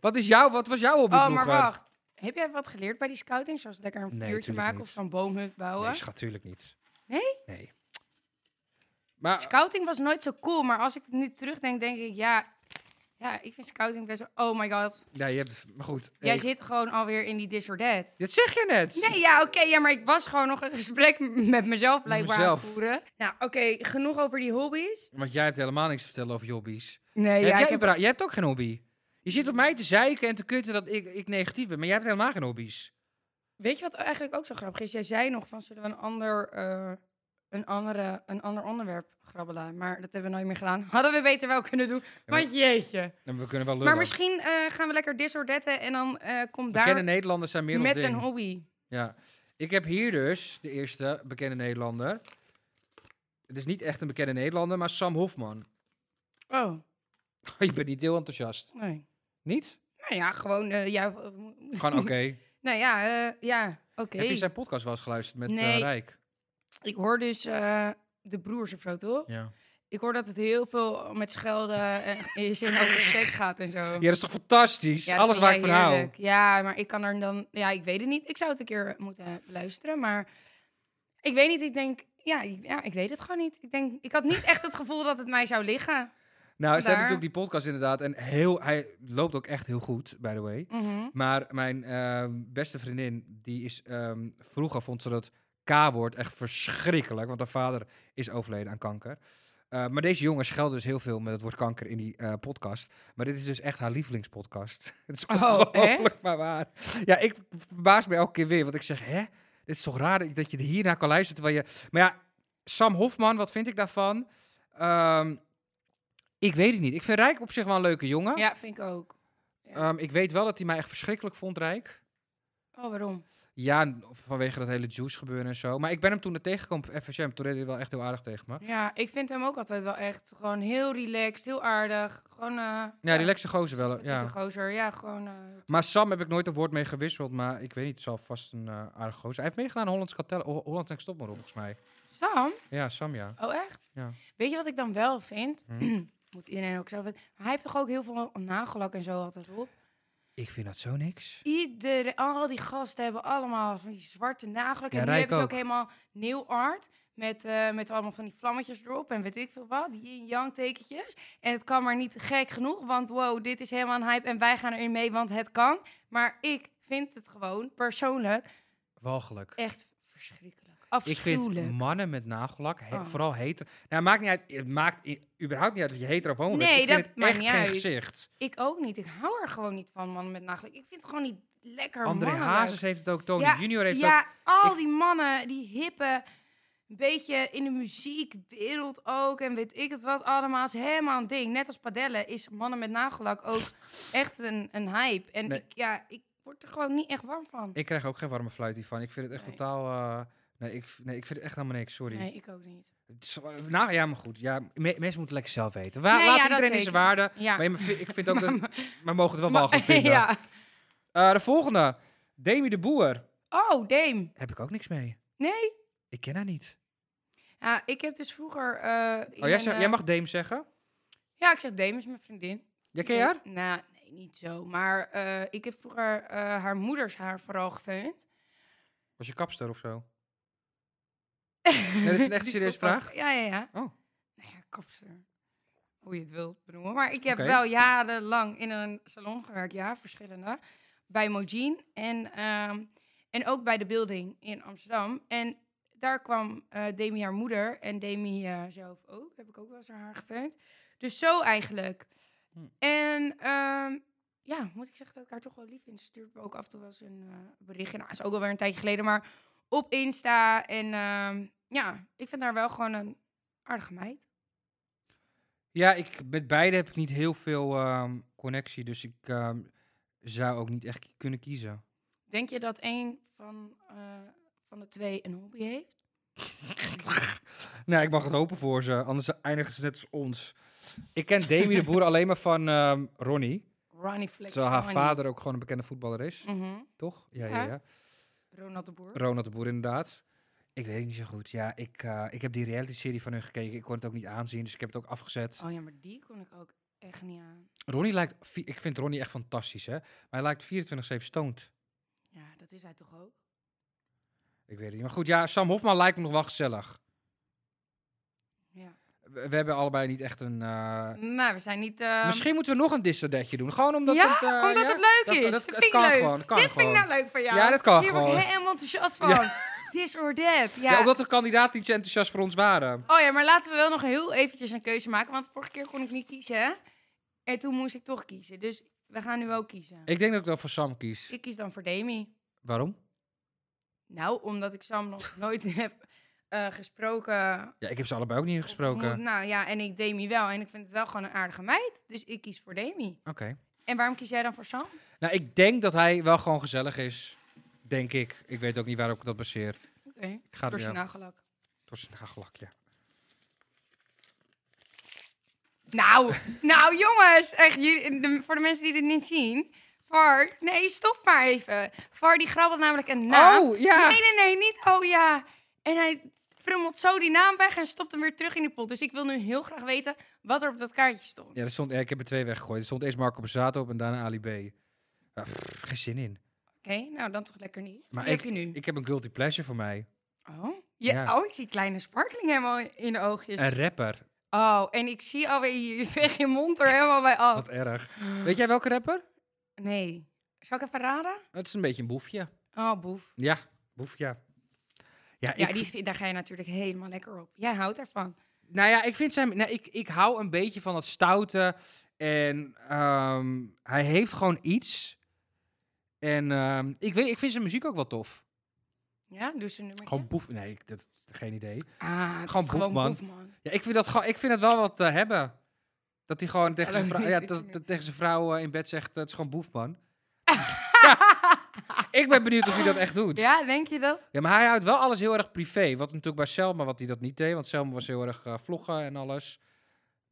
Speaker 6: Wat, is jouw, wat was jouw hobby
Speaker 5: Oh, maar
Speaker 6: vroeger?
Speaker 5: wacht. Heb jij wat geleerd bij die scouting? Zoals lekker een
Speaker 6: Nee,
Speaker 5: vuurtje
Speaker 6: tuurlijk
Speaker 5: maken
Speaker 6: niet.
Speaker 5: of zo'n boomhut bouwen?
Speaker 6: Nee, schat, tuurlijk niet.
Speaker 5: Nee?
Speaker 6: Nee.
Speaker 5: Ah.
Speaker 6: Maar
Speaker 5: Scouting was nooit zo cool, maar als ik nu terugdenk, denk ik, ja, ja ik vind scouting best wel... Oh my god,
Speaker 6: Ja, je hebt Maar goed.
Speaker 5: jij
Speaker 6: hey,
Speaker 5: zit gewoon alweer in die This or That.
Speaker 6: Dat zeg je net.
Speaker 5: Nee, ja, oké, ja, maar ik was gewoon nog een gesprek m- met mezelf blijkbaar aan het
Speaker 6: Mezelf.
Speaker 5: voeren. Nou, oké, genoeg over die hobby's.
Speaker 6: Want jij hebt helemaal niks te vertellen over je hobby's.
Speaker 5: Nee,
Speaker 6: heb
Speaker 5: ja,
Speaker 6: jij,
Speaker 5: ik heb
Speaker 6: überhaupt- jij hebt ook geen hobby. Je zit op mij te zeiken en te kutten dat ik, ik negatief ben, maar jij hebt helemaal geen hobby's.
Speaker 5: Weet je wat eigenlijk ook zo grappig is? Jij zei nog van zullen we een ander, eh, een andere, een ander onderwerp grabbelen. Maar dat hebben we nooit meer gedaan. Hadden we beter wel kunnen doen.
Speaker 6: maar-
Speaker 5: Want jeetje.
Speaker 6: En we kunnen wel lullen.
Speaker 5: Maar misschien eh, gaan we lekker disordetten en dan eh komt
Speaker 6: Bekende
Speaker 5: daar
Speaker 6: Nederlanders zijn meer
Speaker 5: met
Speaker 6: ons ding.
Speaker 5: een hobby.
Speaker 6: Ja. Ik heb hier dus de eerste bekende Nederlander. Het is niet echt een bekende Nederlander, maar Sam Hofman.
Speaker 5: Oh,
Speaker 6: Je bent niet heel enthousiast.
Speaker 5: nee.
Speaker 6: Niet?
Speaker 5: Nou ja, gewoon, eh, ja,
Speaker 6: Gewoon oké.
Speaker 5: nou ja, eh, ja, oké.
Speaker 6: Heb je zijn podcast wel eens geluisterd met eh,
Speaker 5: Nee.
Speaker 6: Rijk?
Speaker 5: Ik hoor dus eh, de broers of zo, toch?
Speaker 6: Ja.
Speaker 5: Ik hoor dat het heel veel met schelden en in zin over seks gaat en zo.
Speaker 6: ja, dat is toch fantastisch?
Speaker 5: Ja, dat
Speaker 6: Alles
Speaker 5: vind
Speaker 6: waar ik
Speaker 5: jij
Speaker 6: van hou.
Speaker 5: heerlijk. Ja, maar ik kan er dan... Ja, ik weet het niet. Ik zou het een keer eh, moeten luisteren, maar... Ik weet niet, ik denk... Ja, ik, ja, ik weet het gewoon niet. Ik, denk, ik had niet echt het gevoel dat het mij zou liggen.
Speaker 6: Nou, ze
Speaker 5: Daar.
Speaker 6: hebben natuurlijk die podcast inderdaad. En heel, hij loopt ook echt heel goed, by the way.
Speaker 5: Mhm.
Speaker 6: Maar mijn ehm, beste vriendin, die is ehm, vroeger vond ze dat K-woord echt verschrikkelijk, want haar vader is overleden aan kanker. Eh, maar deze jongen scheldt dus heel veel met het woord kanker in die eh, podcast. Maar dit is dus echt haar lievelingspodcast. het is
Speaker 5: Oh,
Speaker 6: ongelooflijk, maar waar. Ja, ik verbaas me elke keer weer, want ik zeg, hè? Dit is toch raar dat- dat je hiernaar kan luisteren terwijl je... Maar ja, Sam Hofman, wat vind ik daarvan? Ehm, ik weet het niet. Ik vind Rijk op zich wel een leuke jongen.
Speaker 5: Ja, vind ik ook.
Speaker 6: Ehm, ik weet wel dat hij mij echt verschrikkelijk vond, Rijk.
Speaker 5: Oh, waarom?
Speaker 6: Ja, n- vanwege dat hele juice gebeuren en zo. Maar ik ben hem toen er tegenkwam op FSM. Toen deed hij wel echt heel aardig tegen me.
Speaker 5: Ja, ik vind hem ook altijd wel echt gewoon heel relaxed, heel aardig. Gewoon... eh
Speaker 6: Ja, die Lexe gozer wel.
Speaker 5: een
Speaker 6: Ja.
Speaker 5: leuke gozer. Ja, gewoon... eh,
Speaker 6: Maar Sam heb ik nooit een woord mee gewisseld. Maar ik weet niet, het zal vast een eh aardig gozer. Hij heeft meegedaan aan Hollands Kartel. Ho- Holland Next Top maar op, volgens mij.
Speaker 5: Sam?
Speaker 6: Ja, Sam ja.
Speaker 5: Oh, echt?
Speaker 6: Ja.
Speaker 5: Weet je wat ik dan wel vind?
Speaker 6: Hm.
Speaker 5: Moet iedereen ook zelf weten. Maar hij heeft toch ook heel veel nagellak en zo altijd op?
Speaker 6: Ik vind dat zo niks.
Speaker 5: Iedereen, al die gasten hebben allemaal van die zwarte nagellak.
Speaker 6: Ja,
Speaker 5: en nu
Speaker 6: Rijk
Speaker 5: hebben ze ook
Speaker 6: ook.
Speaker 5: helemaal nail art. Met, eh, met allemaal van die vlammetjes erop en weet ik veel wat. Yin-yang tekentjes. En het kan maar niet gek genoeg. Want wow, dit is helemaal een hype en wij gaan erin mee, want het kan. Maar ik vind het gewoon persoonlijk
Speaker 6: Walgelijk.
Speaker 5: echt verschrikkelijk.
Speaker 6: Ik
Speaker 5: Afschuwelijk.
Speaker 6: vind mannen met nagellak, he-
Speaker 5: Oh.
Speaker 6: vooral heter. Nou, het maakt niet uit. Het maakt i- überhaupt niet uit dat je heter of homo bent.
Speaker 5: Nee,
Speaker 6: Ik vind
Speaker 5: dat
Speaker 6: het
Speaker 5: maakt
Speaker 6: echt
Speaker 5: niet
Speaker 6: geen
Speaker 5: uit.
Speaker 6: gezicht.
Speaker 5: Ik ook niet. Ik hou er gewoon niet van, mannen met nagellak. Ik vind het gewoon niet lekker
Speaker 6: André
Speaker 5: mannelijk.
Speaker 6: Hazes heeft het ook. Tony Junior heeft het ook.
Speaker 5: ja, al
Speaker 6: ik-
Speaker 5: die mannen, die hippen, een beetje in de muziekwereld ook en weet ik het wat allemaal, is helemaal een ding. Net als padellen is mannen met nagellak ook echt een, een hype. En
Speaker 6: Nee.
Speaker 5: ik, ja, ik word er gewoon niet echt warm van.
Speaker 6: Ik krijg ook geen warme fluit hiervan. Ik vind het echt
Speaker 5: Nee.
Speaker 6: totaal. eh, nee, ik, nee, ik vind het echt helemaal niks. Sorry.
Speaker 5: Nee, ik ook niet.
Speaker 6: Het is- nou ja, maar goed. Ja, me- mensen moeten lekker zelf weten. Wa-
Speaker 5: Nee,
Speaker 6: laat
Speaker 5: ja, dat
Speaker 6: iedereen in zijn
Speaker 5: zeker.
Speaker 6: waarde.
Speaker 5: Ja.
Speaker 6: Maar je- maar vi- ik vind ook dat. Maar mogen het wel wel
Speaker 5: Maar-
Speaker 6: gaan vinden.
Speaker 5: ja.
Speaker 6: Eh, de volgende. Demi de Boer.
Speaker 5: Oh, Dame.
Speaker 6: Heb ik ook niks mee.
Speaker 5: Nee?
Speaker 6: Ik ken haar niet.
Speaker 5: Ja, ik heb dus vroeger... eh, in
Speaker 6: Oh, jij,
Speaker 5: mijn,
Speaker 6: zegt-
Speaker 5: eh,
Speaker 6: jij mag Dame zeggen.
Speaker 5: Ja, ik zeg Dame is mijn vriendin.
Speaker 6: Jij ken je haar?
Speaker 5: Nee, nou, nee, niet zo. Maar eh, ik heb vroeger eh, haar moeders haar vooral gefeund.
Speaker 6: Was je kapster of zo? Nee, dat is een echt
Speaker 5: Die
Speaker 6: serieuze
Speaker 5: vroeg ook-
Speaker 6: vraag.
Speaker 5: Ja, ja, ja.
Speaker 6: Oh.
Speaker 5: Nou ja, kapster. Hoe je het wilt benoemen. Maar ik heb
Speaker 6: Oké.
Speaker 5: wel jarenlang in een salon gewerkt. Ja, verschillende. Bij Mojin en, ehm, en ook bij de Building in Amsterdam. En daar kwam eh, Demi haar moeder en Demi eh, zelf ook. Heb ik ook wel eens haar haar gefeund. Dus zo eigenlijk.
Speaker 6: Hm.
Speaker 5: En ehm, ja, moet ik zeggen dat ik haar toch wel lief vind. Ze stuurt me ook af en toe wel eens een eh, berichtje. Nou, is ook alweer een tijdje geleden, maar op Insta. En ehm, ja, ik vind haar wel gewoon een aardige meid.
Speaker 6: Ja, ik, met beide heb ik niet heel veel ehm, connectie. Dus ik ehm, zou ook niet echt ki- kunnen kiezen.
Speaker 5: Denk je dat een van, eh, van de twee een hobby heeft?
Speaker 6: Nou, ik mag het hopen voor ze. Anders eindigen ze net als ons. Ik ken Demi de Boer alleen maar van ehm, Ronnie.
Speaker 5: Ronnie Flex.
Speaker 6: Terwijl haar
Speaker 5: Ronnie.
Speaker 6: vader ook gewoon een bekende voetballer is.
Speaker 5: Mhm.
Speaker 6: Toch? Ja, ja,
Speaker 5: Ja.
Speaker 6: ja.
Speaker 5: Ronald de Boer.
Speaker 6: Ronald de Boer inderdaad. Ik weet het niet zo goed. Ja, ik, eh, ik heb die reality-serie van hun gekeken. Ik kon het ook niet aanzien, dus ik heb het ook afgezet.
Speaker 5: oh ja, maar die kon ik ook echt niet aan.
Speaker 6: Ronnie lijkt... vi- Ik vind Ronnie echt fantastisch, hè. Maar hij lijkt 24-7 stoned.
Speaker 5: Ja, dat is hij toch ook?
Speaker 6: Ik weet het niet. Maar goed, ja, Sam Hofman lijkt me nog wel gezellig.
Speaker 5: Ja.
Speaker 6: We, we hebben allebei niet echt een... eh,
Speaker 5: Nou, we zijn niet... eh,
Speaker 6: Misschien moeten we nog een dissodetje doen. Gewoon omdat
Speaker 5: Ja,
Speaker 6: het... eh,
Speaker 5: omdat het leuk is.
Speaker 6: Dat,
Speaker 5: Vind
Speaker 6: het
Speaker 5: ik
Speaker 6: kan
Speaker 5: leuk.
Speaker 6: gewoon. het kan
Speaker 5: Dit vind ik
Speaker 6: gewoon.
Speaker 5: nou leuk van jou.
Speaker 6: Ja, dat kan
Speaker 5: Hier
Speaker 6: gewoon.
Speaker 5: word ik helemaal enthousiast van. This or that. Ja.
Speaker 6: Ja, omdat de kandidaten niet zo enthousiast voor ons waren.
Speaker 5: Oh ja, maar laten we wel nog heel eventjes een keuze maken. Want vorige keer kon ik niet kiezen. hè? En toen moest ik toch kiezen. Dus We gaan nu ook kiezen.
Speaker 6: Ik denk dat ik dan voor Sam kies.
Speaker 5: Ik kies dan voor Demi.
Speaker 6: Waarom?
Speaker 5: Nou, omdat ik Sam nog nooit heb eh, gesproken.
Speaker 6: Ja, ik heb ze allebei ook niet gesproken.
Speaker 5: Ontmoet.
Speaker 6: Oké.
Speaker 5: Nou ja, en ik Demi wel. En ik vind het wel gewoon een aardige meid. Dus ik kies voor Demi. En waarom kies jij dan voor Sam?
Speaker 6: Nou, ik denk dat hij wel gewoon gezellig is. Denk ik. Ik weet ook niet waarop ik dat baseer.
Speaker 5: Oké.
Speaker 6: Ik ga
Speaker 5: Door
Speaker 6: er
Speaker 5: zijn
Speaker 6: ja,
Speaker 5: nagelak.
Speaker 6: door zijn nagelak, ja.
Speaker 5: Nou, nou jongens, echt, jullie, de- voor de mensen die dit niet zien. Var, nee, stop maar even. Var die grabbelt namelijk een naam.
Speaker 6: Oh, ja.
Speaker 5: Nee, nee, nee, niet oh ja. En hij frummelt zo die naam weg en stopt hem weer terug in die pot. Dus ik wil nu heel graag weten wat er op dat kaartje stond.
Speaker 6: Ja, er stond, ja, ik heb er twee weggegooid. Er stond eerst Marco Bazzato op en daarna Ali B. Ja, pff, geen zin in.
Speaker 5: Oké, nou dan toch lekker niet.
Speaker 6: Maar
Speaker 5: Maar heb
Speaker 6: ik-
Speaker 5: je nu.
Speaker 6: Ik heb een guilty pleasure voor mij.
Speaker 5: oh. Ja,
Speaker 6: Ja.
Speaker 5: oh, ik zie kleine sparkling helemaal in de oogjes.
Speaker 6: Een rapper.
Speaker 5: oh, en ik zie alweer je veeg je mond er helemaal bij af.
Speaker 6: Wat erg. Weet jij welke rapper?
Speaker 5: Nee. Zal ik even raden?
Speaker 6: Het is een beetje een boefje.
Speaker 5: Oh, boef.
Speaker 6: Ja, boefje. Ja,
Speaker 5: Ja,
Speaker 6: ik,
Speaker 5: die, vind- daar ga je natuurlijk helemaal lekker op. Jij houdt ervan.
Speaker 6: Nou ja, ik vind zijn. Nou, ik, ik hou een beetje van dat stoute. En ehm, hij heeft gewoon iets. En ehm, ik, weet, ik vind zijn muziek ook wel tof.
Speaker 5: Ja, doe ze een nummertje.
Speaker 6: Gewoon boef. Nee, ik, dat is geen idee.
Speaker 5: ah, het is
Speaker 6: gewoon
Speaker 5: gewoon
Speaker 6: Boefman.
Speaker 5: Boefman.
Speaker 6: Ja, ik vind dat, gewoon- ik vind dat wel wat eh, hebben. Dat hij gewoon tegen zijn
Speaker 5: dat
Speaker 6: vrou-
Speaker 5: weet
Speaker 6: ja,
Speaker 5: ik
Speaker 6: dat-
Speaker 5: niet.
Speaker 6: dat tegen zijn vrouw eh, in bed zegt: Het is gewoon boef, man. ja, ik ben benieuwd of hij dat echt doet.
Speaker 5: Ja, denk je dat?
Speaker 6: Ja, maar hij houdt wel alles heel erg privé. Wat natuurlijk bij Selma, wat hij dat niet deed. Want Selma was heel erg eh, vloggen en alles.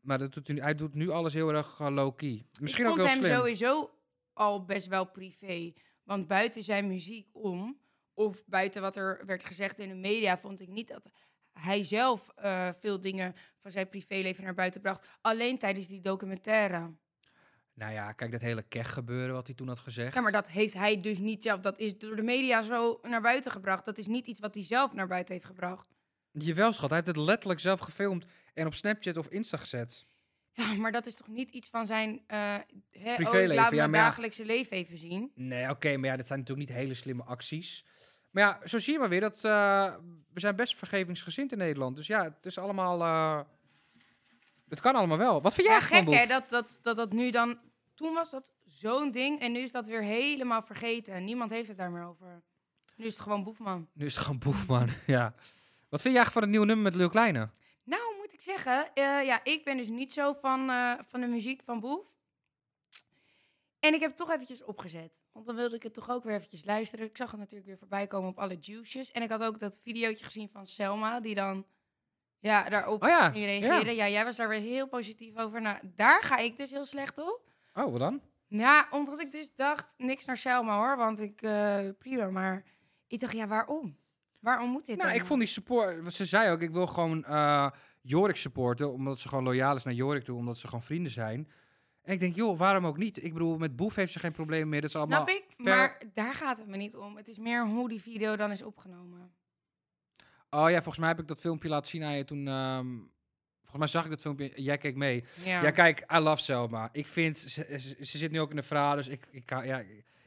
Speaker 6: Maar dat doet hij, nu- hij doet nu alles heel erg eh, low-key. Misschien
Speaker 5: ik
Speaker 6: ook
Speaker 5: vond
Speaker 6: heel
Speaker 5: hem
Speaker 6: slim.
Speaker 5: sowieso al best wel privé. Want buiten zijn muziek om, of buiten wat er werd gezegd in de media, vond ik niet dat hij zelf eh, veel dingen van zijn privéleven naar buiten bracht. Alleen tijdens die documentaire.
Speaker 6: Nou ja, kijk, dat hele kech gebeuren wat hij toen had gezegd.
Speaker 5: Ja, maar dat heeft hij dus niet zelf. Dat is door de media zo naar buiten gebracht. Dat is niet iets wat hij zelf naar buiten heeft gebracht.
Speaker 6: Jawel, schat. Hij heeft het letterlijk zelf gefilmd en op Snapchat of Insta gezet.
Speaker 5: Ja, maar dat is toch niet iets van zijn eh, hè,
Speaker 6: Privéleven,
Speaker 5: Oh,
Speaker 6: ja,
Speaker 5: laat mijn
Speaker 6: maar ja.
Speaker 5: dagelijkse leven even zien.
Speaker 6: Nee, oké, maar ja, dat zijn natuurlijk niet hele slimme acties. Maar ja, zo zie je maar weer dat eh, we zijn best vergevingsgezind in Nederland. Dus ja, het is allemaal... eh, het kan allemaal wel. Wat vind jij
Speaker 5: Ja,
Speaker 6: eigenlijk
Speaker 5: gek
Speaker 6: van Boef?
Speaker 5: hè, dat dat, dat dat nu dan... Toen was dat zo'n ding en nu is dat weer helemaal vergeten. En niemand heeft het daar meer over. Nu is het gewoon Boefman.
Speaker 6: Nu is het gewoon boef, man. ja. Wat vind je eigenlijk van het nieuwe nummer met Lil Kleine?
Speaker 5: Nou, moet ik zeggen, eh, ja, ik ben dus niet zo van, eh, van de muziek van Boef. En ik heb het toch eventjes opgezet. Want dan wilde ik het toch ook weer eventjes luisteren. Ik zag het natuurlijk weer voorbij komen op alle juices. En ik had ook dat videootje gezien van Selma, die dan ja, daarop
Speaker 6: Oh ja,
Speaker 5: ging reageren. Ja. jij was daar weer heel positief over. Nou, daar ga ik dus heel slecht op.
Speaker 6: Oh, wat dan?
Speaker 5: Ja, omdat ik dus dacht, niks naar Selma hoor, want ik, eh, prima. Maar ik dacht, ja, waarom? Waarom moet dit
Speaker 6: Nou,
Speaker 5: dan
Speaker 6: ik
Speaker 5: nou?
Speaker 6: vond die support... want Ze zei ook, ik wil gewoon eh, Jorik supporten. Omdat ze gewoon loyaal is naar Jorik toe. Omdat ze gewoon vrienden zijn. En ik denk, joh, waarom ook niet? Ik bedoel, met Boef heeft ze geen probleem meer. Dat is dus allemaal...
Speaker 5: Snap ik,
Speaker 6: ver-
Speaker 5: maar daar gaat het me niet om. Het is meer hoe die video dan is opgenomen.
Speaker 6: Oh ja, volgens mij heb ik dat filmpje laten zien aan je toen... ehm, volgens mij zag ik dat filmpje. Jij keek mee.
Speaker 5: Ja,
Speaker 6: Ja, kijk, I love Selma. Ik vind... Ze, ze, ze zit nu ook in de verhaal. Dus ik, ik, hou- ja,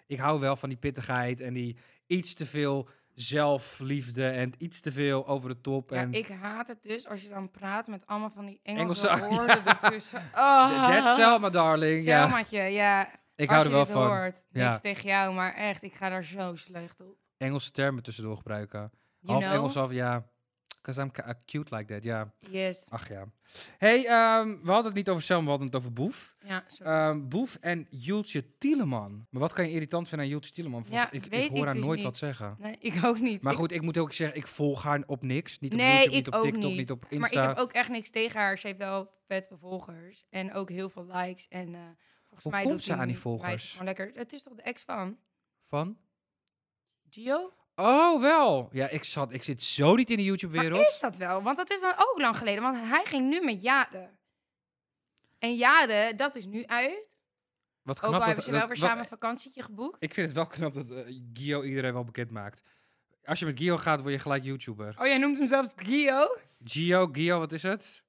Speaker 6: ik hou wel van die pittigheid. En die iets te veel zelfliefde. En iets te veel over de top.
Speaker 5: Ja,
Speaker 6: en
Speaker 5: ik haat het dus als je dan praat met allemaal van die Engelse,
Speaker 6: Engelse-
Speaker 5: woorden ertussen. Oh,
Speaker 6: That's Selma, darling. Ja,
Speaker 5: Selmaatje, ja.
Speaker 6: ik
Speaker 5: als
Speaker 6: hou
Speaker 5: je
Speaker 6: er wel
Speaker 5: dit
Speaker 6: van.
Speaker 5: Hoort,
Speaker 6: Ja.
Speaker 5: Niks tegen jou, maar echt, ik ga daar zo slecht op.
Speaker 6: Engelse termen tussendoor gebruiken.
Speaker 5: You
Speaker 6: half
Speaker 5: know?
Speaker 6: Engels, half ja. Because I'm ca- cute like that, ja.
Speaker 5: Yes.
Speaker 6: Ach ja. hey, ehm, we hadden het niet over Selma, we hadden het over Boef.
Speaker 5: Ja, sorry.
Speaker 6: Ehm, Boef en Jultje Tieleman. Maar wat kan je irritant vinden aan Jultje Tieleman?
Speaker 5: Ja,
Speaker 6: ik, ik
Speaker 5: weet
Speaker 6: hoor
Speaker 5: ik
Speaker 6: haar
Speaker 5: dus
Speaker 6: nooit
Speaker 5: niet.
Speaker 6: wat zeggen.
Speaker 5: nee, ik ook niet.
Speaker 6: Eh. Maar
Speaker 5: Ik-
Speaker 6: goed, ik moet ook zeggen, ik volg haar op niks. Niet op
Speaker 5: nee,
Speaker 6: YouTube,
Speaker 5: ik
Speaker 6: niet op
Speaker 5: ook
Speaker 6: TikTok,
Speaker 5: niet.
Speaker 6: niet. op Insta.
Speaker 5: Maar ik heb ook echt niks tegen haar. Ze heeft wel vet volgers en ook heel veel likes. En eh, volgens
Speaker 6: Hoe
Speaker 5: mij
Speaker 6: komt
Speaker 5: doet
Speaker 6: ze aan die
Speaker 5: meid het
Speaker 6: volgers?
Speaker 5: Gewoon lekker. Het is toch de ex van
Speaker 6: Van?
Speaker 5: Gio?
Speaker 6: Oh, wel. Ja, ik, zat, ik zit zo niet in de YouTube-wereld.
Speaker 5: Maar is dat wel? Want dat is dan ook lang geleden. Want hij ging nu met Jade. En Jade, dat is nu uit.
Speaker 6: Wat
Speaker 5: Ook
Speaker 6: knap
Speaker 5: al
Speaker 6: dat-
Speaker 5: hebben ze wel
Speaker 6: dat-
Speaker 5: weer
Speaker 6: wat-
Speaker 5: samen een vakantietje geboekt.
Speaker 6: Ik vind het wel knap dat eh, Gio iedereen wel bekend maakt. Als je met Gio gaat, word je gelijk YouTuber.
Speaker 5: Oh, jij noemt hem zelfs Gio?
Speaker 6: Gio, Gio, wat is het?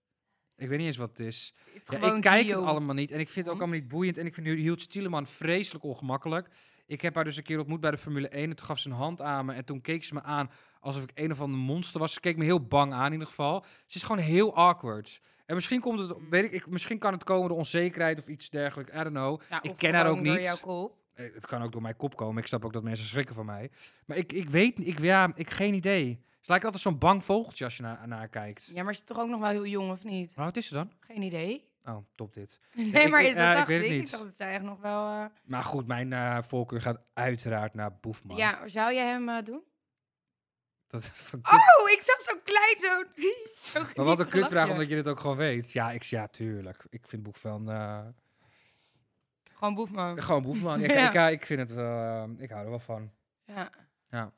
Speaker 6: Ik weet niet eens wat het is.
Speaker 5: Het is
Speaker 6: Ja,
Speaker 5: gewoon
Speaker 6: ik kijk
Speaker 5: Gio.
Speaker 6: het allemaal niet en ik vind het ook
Speaker 5: Hm?
Speaker 6: allemaal niet boeiend. En ik vind Hield Stieleman vreselijk ongemakkelijk. Ik heb haar dus een keer ontmoet bij de Formule 1 en toen gaf ze een hand aan me. En toen keek ze me aan alsof ik een of ander monster was. Ze keek me heel bang aan in ieder geval. Ze is gewoon heel awkward. En misschien komt het,
Speaker 5: Hm.
Speaker 6: weet ik, ik misschien kan het komen door onzekerheid of iets dergelijks. I don't know.
Speaker 5: Ja,
Speaker 6: ik
Speaker 5: of
Speaker 6: ken haar
Speaker 5: gewoon
Speaker 6: ook
Speaker 5: door
Speaker 6: niet.
Speaker 5: jouw kop.
Speaker 6: Eh, Het kan ook door mijn kop komen. Ik snap ook dat mensen schrikken van mij. Maar ik, ik weet, ik, ja, ik geen idee. Ze lijkt altijd zo'n bang vogeltje als je naar, naar kijkt.
Speaker 5: Ja, maar ze is toch ook nog wel heel jong, of niet?
Speaker 6: Nou, wat is ze dan?
Speaker 5: Geen idee.
Speaker 6: Oh, top dit.
Speaker 5: Nee,
Speaker 6: ik-
Speaker 5: maar
Speaker 6: ik-
Speaker 5: dat
Speaker 6: ja, ik
Speaker 5: dacht
Speaker 6: weet
Speaker 5: ik.
Speaker 6: het
Speaker 5: Ik,
Speaker 6: niet.
Speaker 5: dacht dat zij echt nog wel... eh,
Speaker 6: Maar goed, mijn eh, voorkeur gaat uiteraard naar Boefman.
Speaker 5: Ja, zou je hem eh, doen?
Speaker 6: Dat, dat-
Speaker 5: Oh, ik zag zo klein zo... zo
Speaker 6: maar wat een
Speaker 5: geniepig
Speaker 6: kutvraag,
Speaker 5: lachje.
Speaker 6: omdat je dit ook gewoon weet. Ja, ik, ja tuurlijk. Ik vind Boefman... eh,
Speaker 5: Gewoon boefman.
Speaker 6: gewoon Boefman. Ik,
Speaker 5: Ja.
Speaker 6: ik, eh, ik vind het wel... eh, ik hou er wel van.
Speaker 5: Ja.
Speaker 6: Ja.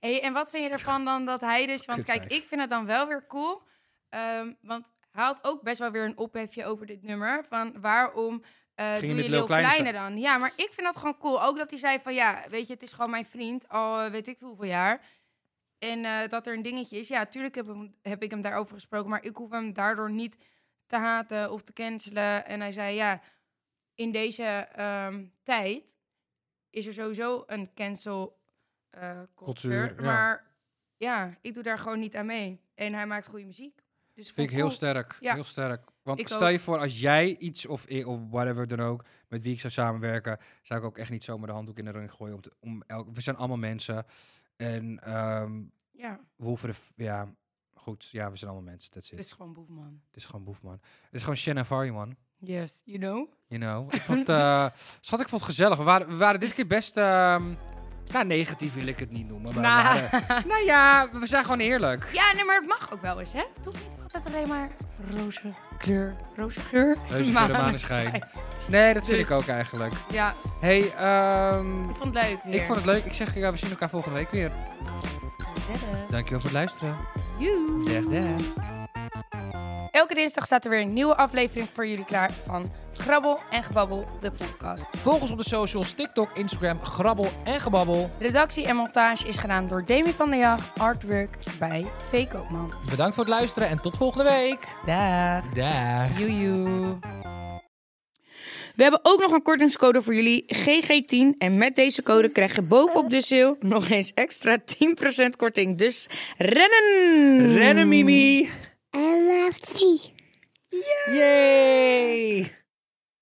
Speaker 5: Hey, en wat vind je ervan dan dat hij dus... Want kijk,
Speaker 6: Kutwijf.
Speaker 5: ik vind het dan wel weer cool. ehm, want hij had ook best wel weer een ophefje over dit nummer. Van waarom eh,
Speaker 6: je
Speaker 5: doe
Speaker 6: met
Speaker 5: je
Speaker 6: Lil
Speaker 5: Lil
Speaker 6: Kleine
Speaker 5: Kleine dan? Ja, maar ik vind dat gewoon cool. Ook dat hij zei van ja, weet je, het is gewoon mijn vriend. Al eh, weet ik veel hoeveel jaar. En eh, dat er een dingetje is. Ja, tuurlijk heb, hem- heb ik hem daarover gesproken. Maar ik hoef hem daardoor niet te haten of te cancelen. En hij zei ja, in deze ehm, tijd is er sowieso een cancel eh cultuur.
Speaker 6: Cultuur, ja.
Speaker 5: Maar ja, ik doe daar gewoon niet aan mee. En hij maakt goede muziek. Dus
Speaker 6: Vind ik heel
Speaker 5: cool.
Speaker 6: sterk.
Speaker 5: Ja.
Speaker 6: Heel sterk. Want
Speaker 5: Ik
Speaker 6: stel je voor, als jij iets of, i- of whatever dan ook, met wie ik zou samenwerken, zou ik ook echt niet zomaar de handdoek in de ring gooien. Om te- om elk, we zijn allemaal mensen. En ehm,
Speaker 5: Ja,
Speaker 6: we hoeven de. f- Ja, goed. Ja, we zijn allemaal mensen. That's it.
Speaker 5: het is gewoon boefman.
Speaker 6: Het is gewoon Boefman. Het is gewoon Shannon Varry, man.
Speaker 5: Yes, you know.
Speaker 6: You know. Ik vond, eh, schat, ik vond het gezellig. We waren, we waren dit keer best... ehm nou, negatief wil ik het niet noemen. Maar
Speaker 5: Nou.
Speaker 6: we waren- nou ja, we zijn gewoon eerlijk.
Speaker 5: Ja, nee, maar het mag ook wel eens, hè? Toch niet altijd alleen maar roze kleur, roze geur.
Speaker 6: Reuze voor de maneschijn. Nee, dat vind
Speaker 5: Dus-
Speaker 6: ik ook eigenlijk.
Speaker 5: Ja,
Speaker 6: Hey, ehm,
Speaker 5: ik vond het leuk weer.
Speaker 6: ik vond het leuk. Ik zeg, ja, we zien elkaar volgende week weer.
Speaker 5: Verder.
Speaker 6: Dankjewel voor het luisteren.
Speaker 5: Joe.
Speaker 6: Dag, dag.
Speaker 5: Elke dinsdag staat er weer een nieuwe aflevering voor jullie klaar van Grabbel en Gebabbel, de podcast.
Speaker 4: Volg ons op de socials, TikTok, Instagram, Grabbel en Gebabbel.
Speaker 5: Redactie en montage is gedaan door Demi van der Jag, artwork bij V. Koopman.
Speaker 4: Bedankt voor het luisteren en tot volgende week.
Speaker 5: Daag.
Speaker 4: Daag.
Speaker 5: Joejoe. We hebben ook nog een kortingscode voor jullie, GG10. En met deze code krijg je bovenop de sale nog eens extra 10% korting. Dus rennen!
Speaker 4: Rennen, Mimi.
Speaker 7: I love tea.
Speaker 4: Yay.